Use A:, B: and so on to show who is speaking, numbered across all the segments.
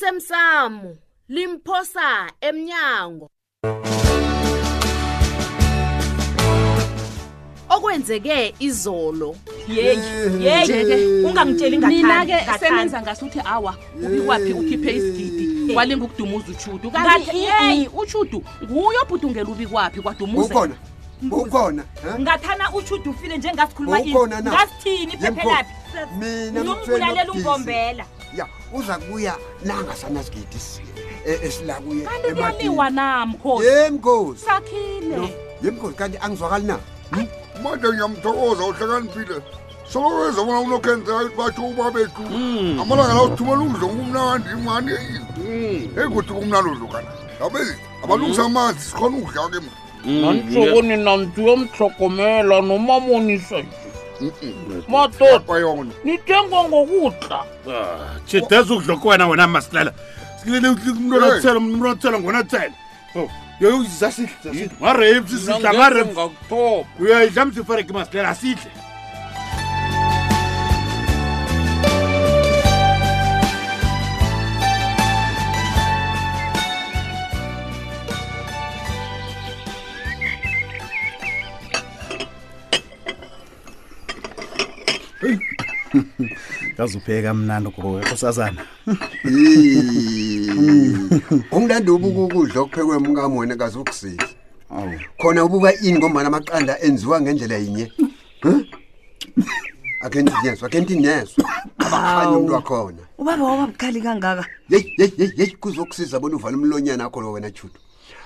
A: osemsamo limphosa emnyango okwenzeke izolo
B: yeyi yeyi ungangitsheli
C: mina-ke
B: ngathani
C: senenza ngasuthi awa ubikwaphi ukhiphe isigidi
A: Eh.
C: walinga ukudumuza utshudu
B: Ngathi-
C: kanti yeyi
A: mm.
C: utshudu nguye obhudungela ubikwaphi kwadumuza
D: ukhona ukhona ha?
B: ngathana utshudu ufile njengasikhuluma ini
D: Ukhona na?
B: ngasithini
D: Yemkhosi,
B: phephelaphi
D: mina
B: nomvulalela
D: Mthweni
B: ungombela
D: Nobisi. ya uza kuya nangasanasgidi esilakuye
C: kanti kuyaliwa na mkhosi
D: yemkhosi
C: sakhile
D: yemkhosi kanti angizwakali na
E: manje ngiyamthokoza uhlakaniphile soloko ezabona ulokhu enzeka ukuthi batsho ubabethu amalanga la usithumela udlo kumnakandimani eyikuthi kumnalo udlo kana ngabe abalungisa amanzi sikhona ukudla-ke mna
F: Mm, nantsokoni nanti yo mtlhogomela nomamonisa nje madoda
E: bayona
F: nithengwa ngokutla
G: chideza ukudla kwena wena masilela silele umntunathela umntunathela ngonathela
H: Oh,
G: yoyozasidlamarep sisidla marep
F: ngakuthoba
G: uyayidla msifareke masilela asidle
H: ngazupheka mnandi kuwe kusazana
D: umlando ubuka ukudla okuphekwe mkami wena kaze ukusiza
H: awu
D: khona ubuka ini ngombana amaqanda enziwa ngendlela yinye Huh? akhe ndinyezwa akhe ndinyezwa abakhanye umntu wakhona
I: ubaba wababukhali kangaka
D: yeyi yeyi yeyi yeyi kuzokusiza bona uvala umlonyana akho lo wena judu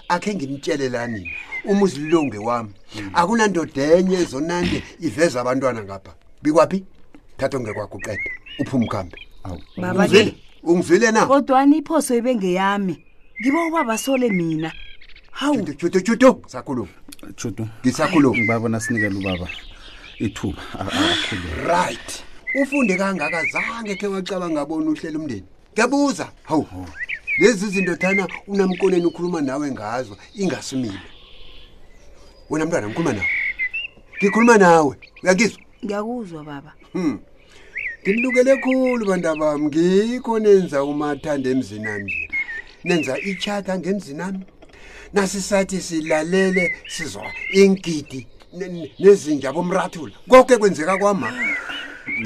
D: akhe ngimtshelelani uma uzililonge wami akunandoda enye ezonande iveza abantwana ngapha bikwaphi thatha ongekwakho uqeda uphume ukhambe
I: baba-ke
D: ungizwile na
I: kodwani iphoso ibengeyami ngiba ubaba sole mina hawu
D: judu judu judu sakhuluma
H: judu
D: ngisakhuluma
H: ngibabona sinikela ubaba ithuba a- a- akhulume
D: right ufunde kangaka zange khe wacabanga bona uhlela umndeni ngiyabuza hawu lezi zinto thana unamkoneni ukhuluma nawe ngazo ingasimile wena mntwana ngikhuluma nawe ngikhuluma nawe uyakizwa
I: ngiyakuzwa baba
D: hmm. ngimlukele khulu banta bami ngikho nenza umathanda emzini ami nje nenza ichata ngemzini ami nasisathi silalele sizwa ingidi ne- ne- nezinja bomrathula konke kwenzeka kwama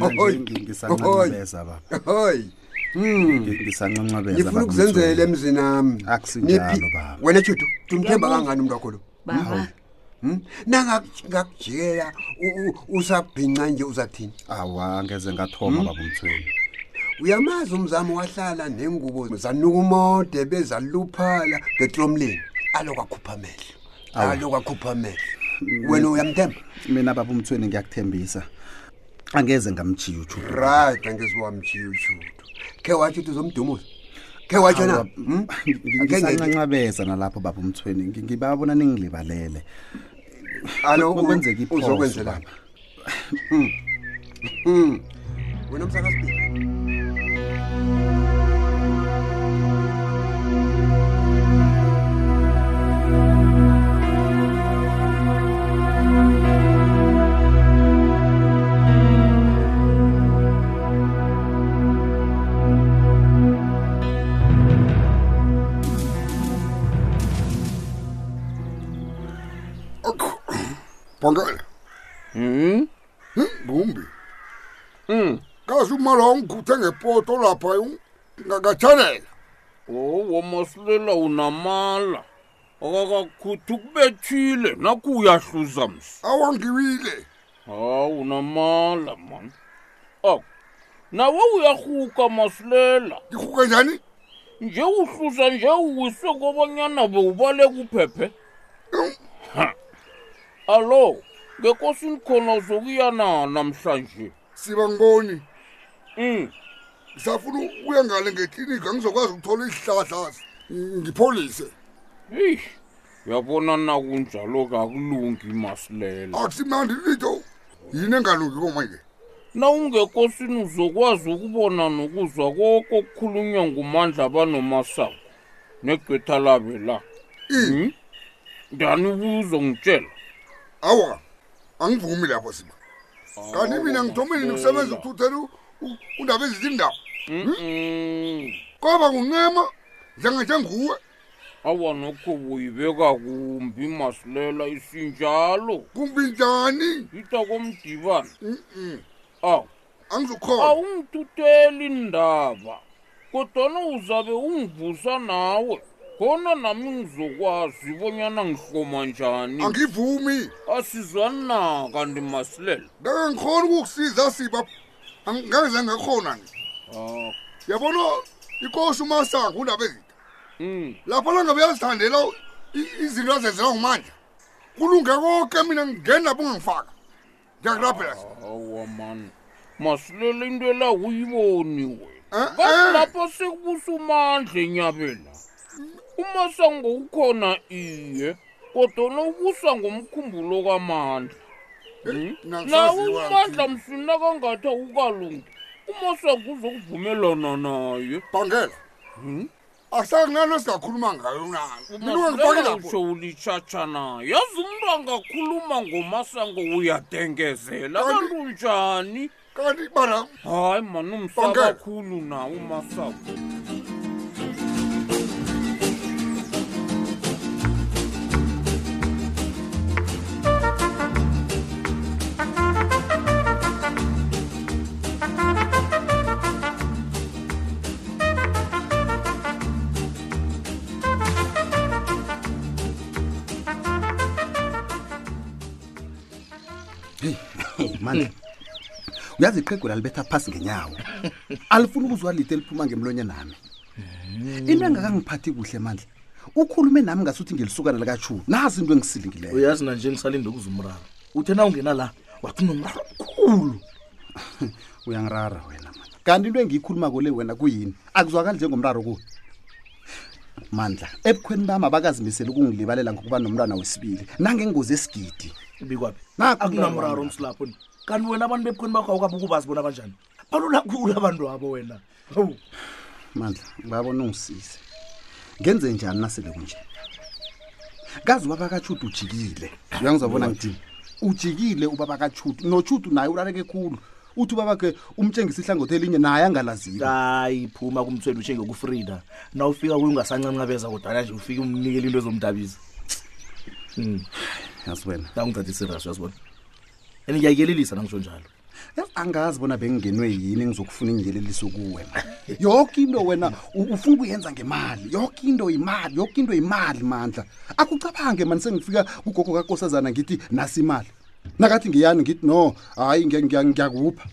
D: Ohoy.
H: ngisanqabeza baba
D: hoyi hmm.
H: Ngi- ngisanqabeza
D: ngifuna ukuzenzela emzini ami
H: Akusinjalo,
D: Niphi-
H: baba.
D: wena judu mm, tumthemba
I: Ngiyakuzwa.
D: kangani umntu wakho lo
I: baba
D: Hmm? nangakujikela usabhinca nje uzathini
H: awa angeze ngathoma
D: Hmm?
H: baba umthweni
D: uyamazi umzamo wahlala nengubo zanuka umode bezaluphala ngetromlini aloku akhupha amehlo aloku akhupha amehlo wena uyamthemba
H: mina baba umthweni ngiyakuthembisa angeze ngamjiya ujudu
D: right angeziwamjiya ushudu khe watsho ukuthi uzomdumuza khe watsho na Hmm? Akhe nge-
H: ngisanqanqabeza nalapho baba umthweni Ngi- ngibabona ningilibalele
D: alo u-
H: kwenzeka iphoso,
D: uzokwenzelana
H: baba.
D: Hmm. Hmm. wena msakasiphi
E: bhangela mbumbi kazi umali wawungiguthe ngepoto lapha ngakatshanela
F: owo masilela unamala akakakhuthi ukubethile naku uyahluza msi
E: awangiwile
F: hawu namala mani ako nawe uyahuka masilela
E: ngirhuke njani
F: nje uhluza nje uwiswe kobanyana bewubaleka uphephe
E: Hmm.
F: Ha. alo ngekosini khona uzokuya na namhlanje
E: siba ngiboni
F: um
E: ngisafuna ukuya ngale ngeklinikhi angizokwazi ukuthola izihlahla ngipholise
F: eyi yabona nakunjalo-ke akulungi masilela
E: akusimnandi lito yini engalungi komanje
F: na ungekosini uzokwazi ukubona nokuzwa koko kukhulunywa ngumandla banomasango negqitha labe la
E: i
F: ndani ubuzo ngitshela
E: awa angivumi lapho siba kanti mina ngithomeni nikusebenza ukuthuthela undaba ezithi indaba
F: Mm-mm.
E: koba kuncema njenganjenguwe
F: awa nokho uyibeka kumbi masilela isinjalo
E: kumbi njani
F: ita komdibana
E: Mm-mm.
F: aw
E: angizukhona
F: Oh. awungituteli ndaba kodwana uzabe ungivusa nawe khona nami ngizokwazi bonyana ngihloma njani
E: angivumi
F: asizwani na kanti masilela
E: ngangikhona ukukusiza siba ngangize ngakhona nje
F: aw
E: yabona ikosi umasango undaba ezitha
F: um
E: lapho langabe uyazithandela i- izinto azenzela ngumandla kulunge konke mina ngendaba ungangifaka ndiyakurabhela
F: awa mani masilela into elakuyiboni wena
E: Eh,
F: kanti
E: eh.
F: lapho sekubusa umandla enyabela umasango ukhona iye kodwana ubusa ngomkhumbulo kamandla Hmm?
E: mina
F: nawe
E: ngisaziwa
F: umandla
E: ngithi-
F: mfina kangathi awukalungi umasango uzokuvumelana naye
E: bhangela Ah, asanalo singakhuluma ngayo nami mina ungangifaki lapho
F: utsho ulitshatshana yazi umntu angakhuluma ngomasango uyadengezela
E: Kanti-
F: kanti unjani
E: kanti bana
F: hayi mani umsa
E: Bhangela.
F: kakhulu nawe umasango
H: Hey, mani uyazi iqegula libetha phasi ngenyawo alifuni ukuzwa lite liphuma ngemlonye nami into engakangiphathi kuhle mandla ukhulume nami ngasuthi ngelisukana likashumi nazi into engisilingileyo
J: uyazi nanje ngisalinde ukuza umraro uthe na ungena la wathi unomraro mkhulu
H: uyangirara wena mani kanti into engiyikhulumako le wena kuyini akuzwakali njengomraro kuwe mandla ebukhweni bami abakazimiseli ukungilibalela ngokuba nomntwana wesibili nangengozi esigidi
J: ibikwaphi
H: Nakho
J: akunamraro
H: umraro.
J: umsilapho ni kanti wena abantu bebukhweni bakho awukabe ukubazi bona banjani balula khulu abantu abo wena Hawu.
H: mandla ngibabona ungisize ngenze njani nasele kunje kazi ubaba kachudu ujikile uyangizwabona ngidini ujikile ubaba kachudu nochudu naye urareke khulu uthi ubaba ke umtshengisa ihlangothi elinye naye angalaziyo
J: hayi phuma kumthweni utshenge kufrida na ufika kuyo ungasancancabeza kodwana nje ufike umnikele into ezomdabisa um
H: yazi wena
J: nangithathe iserias uyazibona and ngiyakuyelelisa nangitsho njalo
H: yazi angazi bona bengingenwe yini ngizokufuna ingiyeleliso kuwe man. yoke into wena u- ufuna ukuyenza ngemali yoke into yimali yoke into yimali mandla akucabange mani sengifika kugogo kakosazana ngithi nasi imali nakathi ngiyani ngithi no hhayi ngiya- ngiya- ngiyakupha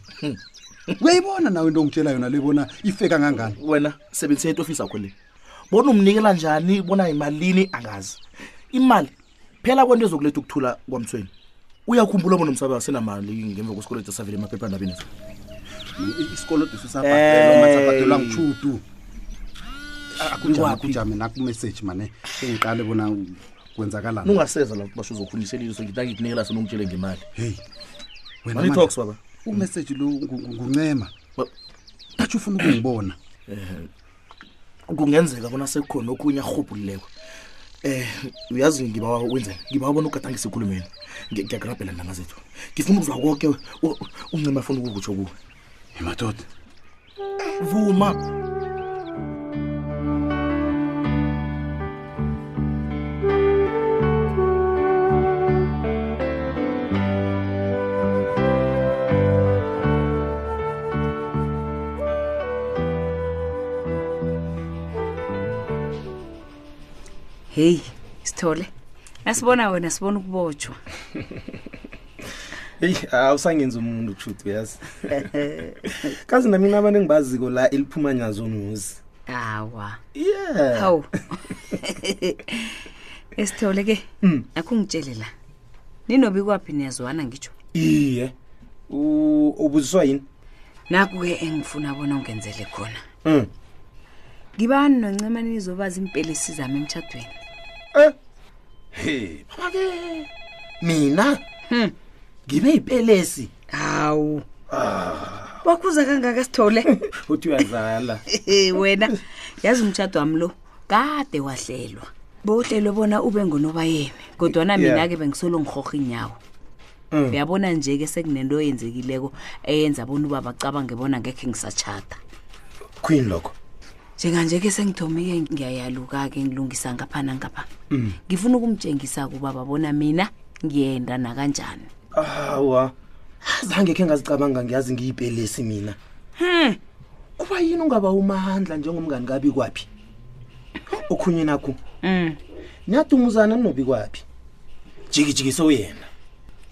H: uyayibona nawe into ongitshela yona lebona ifeka ngangani
J: wena sebenzisa itofisi yakho le bona umnikela njani bona yimalini angazi imali phela kwento ezokuletha ukuthula kwamthweni uyakhumbula bona umsabe wasenamali ngemva kwesikoleti esavele emaphephandabeni
H: isikolodo sisabhadelwa
J: Hey.
H: ngichudu
J: Ikwaphi?
H: akujame nakumeseji mane sengiqale bona kwenzakalani
J: ungaseza la basho uzokhunyiseliso so ngithi angikunikela sona ungitshele ngemali
H: heyi wena
J: mani
H: mandla.
J: talks baba
H: umeseji lo ngu- ngu- nguncema
J: Ba-
H: thatha ufuna ukungibona
J: kungenzeka bona sekukhona okunye arhubhulileko eh uyazi ngiba wenzeni ngiba bona ugadangisa ekhulumeni Ngi- ngiyakurabhela ndanga zethu ngifuna ukuzwa konke u- uncema afuna ukukutsho kuwe
H: emadoda
J: vuma
I: heyi sithole nasibona wena sibona ukubotshwa
K: heyi awusangenza umuntu kushuthi uyazi kazi namina abantu engibaziko la eliphuma nyazonuzi
I: awa
K: yeah
I: hawu esithole Eh, ke
D: Hmm.
I: akungitshele la ninobi kwaphi niyazwana ngitsho
K: iye U- ubuziswa yini
I: naku-ke engifuna bona ungenzele khona
D: Hmm.
K: um
I: ngibani noncemane nizoba zimpelesi zami emtshadweni
K: eh he baba-ke mina ngibe yipelesi
I: hawu wakhuza kangaka sithole
K: uthi uyazala
I: Eh, wena yazi umtshado wami lo kade wahlelwa bowuhlelwe bona ube ngonobayeme kodwana
K: Yeah.
I: mina-ke bengisolo ngirhorha inyawo
K: Mm.
I: uyabona nje-ke sekunento eyenzekileko eyenza bona uba bacabange bona ngekhe ngisatshata
K: queen lokho
I: njenganje-ke sengithomike ngiyayaluka-ke ngilungisa ngapha nangapha
K: Mm.
I: ngifuna ukumtshengisa-ke ubaba bona mina ngiyenda nakanjani
K: awa zange khe ngazicabanga ngiyazi ngiyipelesi mina
I: Hmm.
K: kuba yini ungaba umandla njengomngani kabi kwaphi okhunye nakho niyadumuzana nobi kwaphi jikijikise uyena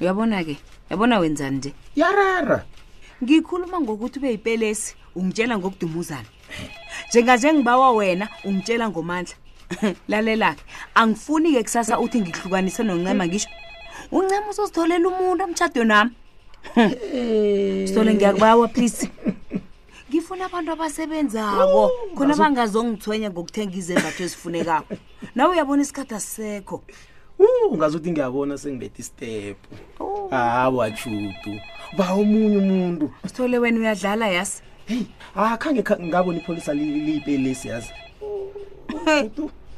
I: uyabona-ke yabona wenzani nje
K: yarara
I: ngikhuluma ngokuthi ube yipelesi ungitshela ngokudumuzana njenganje ngibawa wena ungitshela ngomandla lalela-ke angifuni-ke kusasa uthi ngihlukanise noncema ngisho uncema uzozitholela umuntu amtshado nami sitole ngiyakubawa please ngifuna abantu abasebenzako khona
B: ngazo-
I: bangazongithwenya ngokuthenga izembatho ezifunekako nawe uyabona isikhathi asisekho
K: Uh, ungazuthi ngiyabona sengibethe istep hawa chutu ba omunye umuntu
I: sithole wena uyadlala yasi
K: heyi akhange kha- ngabona ipholisa li- liyipelesi yazi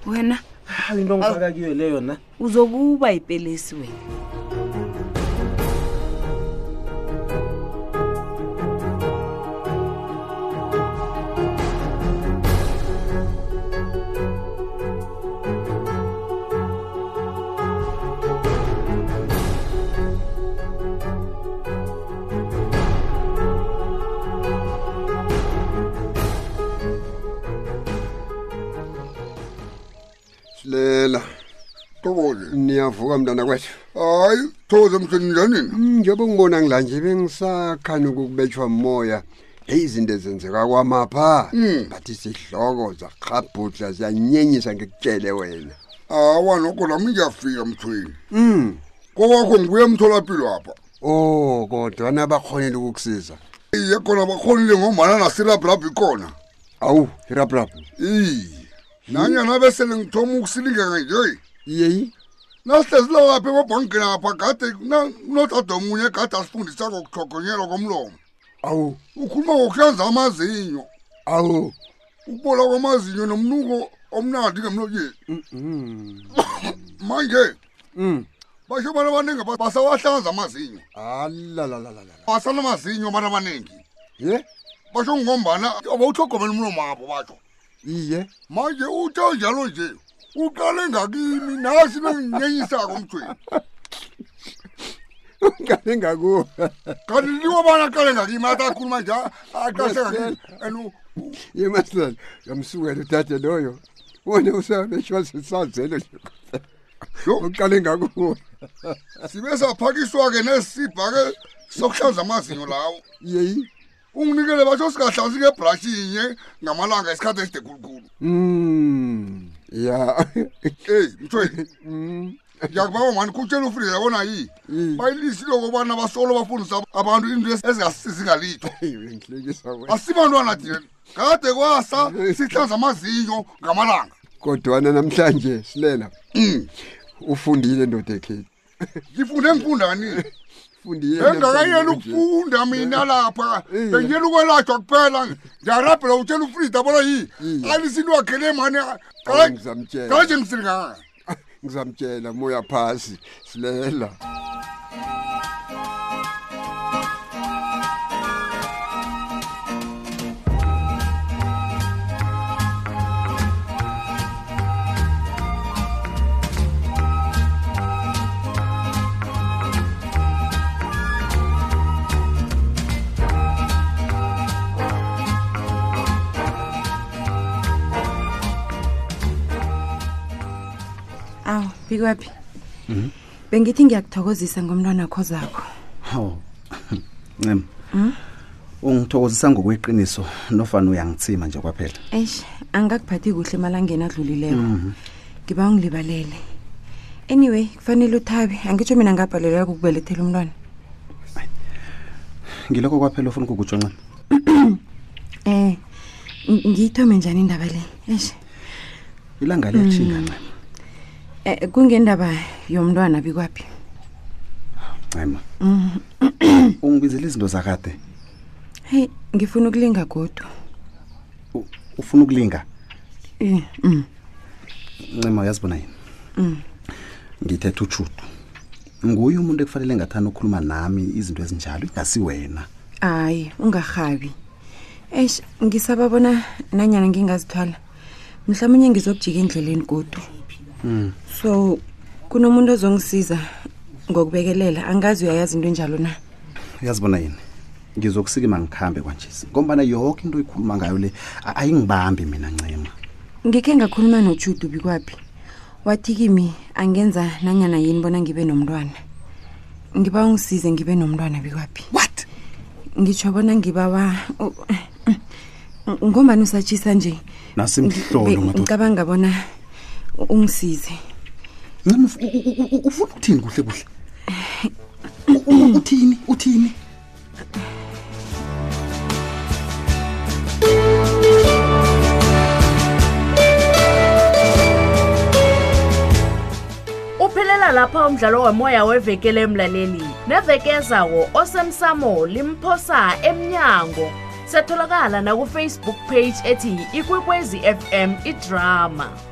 I: wena
K: Ah, into ngifaka kiyo leyo na
I: uzokuba yipelesi wena
D: silela
E: thokoze
D: niyavuka mntana kwethu
E: hayi thokoze mhleni njani nina
D: njengoba ngibona ngila nje bengisakhani ukubetshwa moya heyi izinto ezenzeka kwamapha
H: Hmm.
E: Mm.
D: but sihloko zakhabhudla ziyanyenyisa ngikutshele wena
E: hawa nokho nami ngiyafika mthweni
D: um
E: kokwakho ngibuye emtholapilo apha
D: o kodwana bakhonele ukukusiza
E: iye khona bakhonile ngombana nasilabhlabhi khona
D: awu irabrabu
E: iye nanyana besele ngithoma ukusilingeka nje
D: yeyi
E: nasihlezilapha emabhankeni apha gade unotade omunye gade asifundisa ngokuthogonyelwa komlomo
D: awu
E: ukhuluma ngokuhlanza amazinyo
D: awu
E: ukubola kwamazinyo nomnuko omnandi ngemlonyeni manje basho abantu abaningi ba- basawahlanza amazinyo
D: alalalalala
E: basanamazinyo abantu abaningi
D: ye
E: basho kungombana abawuthogomela umlomo apho basho
D: iye
E: manje uthe njalo nje uqale ngakimi nasi benginyenyisako mthweni
D: kale ngakuwe
E: kanti liwobana aqale ngakimi athi akhuluma nje aqase ngakimi and
D: ye masilala uyamsukela udade loyo wona usabetshwa sisazelo nje uqale ngakuwe
E: sibe saphakiswa-ke nesibha-ke sokuhlanza amazinyo lawo
D: yeyi
E: unginikele basho singahlanzi-ke ebrashi inye ngamalanga isikhathi eside khulukhulu
D: Mm. Ya.
E: eyi mthweni ngiyakubawa mani khutshela ufrida yabona yi bayilisi lokobana basolo bafundisa abantu into ezingasisizi ngalitho
D: Ngihlekisa wena.
E: asibantwana thina kade kwasa sihlanza amazinyo ngamalanga
D: Kodwana namhlanje silela. Ufundile ndoda ekhe.
E: ngifunde ngifundani
D: Ufundile.
E: engakayeli ukufunda mina lapha bengiyela ukwelatshwa kuphela ngiyarabhela utshela ufrida bona yi alisinto wakhele mani
D: Ngizamtshela.
E: kanje ngisilinganga
D: Ngizamtshela Ah, moya phasi. Silela.
L: awu bikwaphi bengithi ngiyakuthokozisa ngomntwana kho zakho
H: hawu ncema ungithokozisa ngokweqiniso nofana uyangitsima nje kwaphela
L: eish angakuphathi kuhle emalangeni adlulileko
H: Mhm.
L: ngiba ungilibalele anyway kufanele uthabe angitsho mina ngabhalelwa kukubelethela umntwana
H: ngilokho kwaphela ufuna ukukutsho ncema
L: um ngiyithome njani indaba le eish
H: ilanga liyajhinga
L: Mm. Eh, kungendaba yomntwana bikwaphi
H: ncema
L: Mhm.
H: ungibizela izinto zakade
L: heyi ngifuna ukulinga godu
H: ufuna ukulinga
L: Eh, mm,
H: ncema uyazibona yini
L: mm.
H: ngithetha utshudu nguye umuntu ekufanele ngathanda ukukhuluma nami izinto ezinjalo ingasi wena
L: hayi ungarhabi eish ngisaba bona nanyana ngingazithwala mhlawumbe ngizokujika endleleni godu
H: Mm.
L: so kunomuntu ozongisiza ngokubekelela angazi uyayazi into enjalo na
H: uyazibona yini ngizokusikima ngikhambe kwanjesi ngombana yonke into oyikhuluma ngayo le a- ayingibambi mina ncema
L: ngikhe ngakhuluma nojudu bikwaphi wathi kimi angenza nanyana yini bona ngibe nomntwana ngiba ungisize ngibe nomntwana bikwaphi
H: what
L: ngitsho bona ngibawa oh, eh, u- ngombani usatshisa nje Be-
H: nasimhlolo madoda
L: ngicabanga bona u- ungisize
H: ncema uf- u- u- u- u- ufuna uthini kuhle kuhle U- u- uthini uthini
A: uphelela lapha umdlalo womoya wevekele emlaleli nevekezawo osemsamo limphosa emnyango setholakala nakufacebook page ethi ikwekwezi fm idrama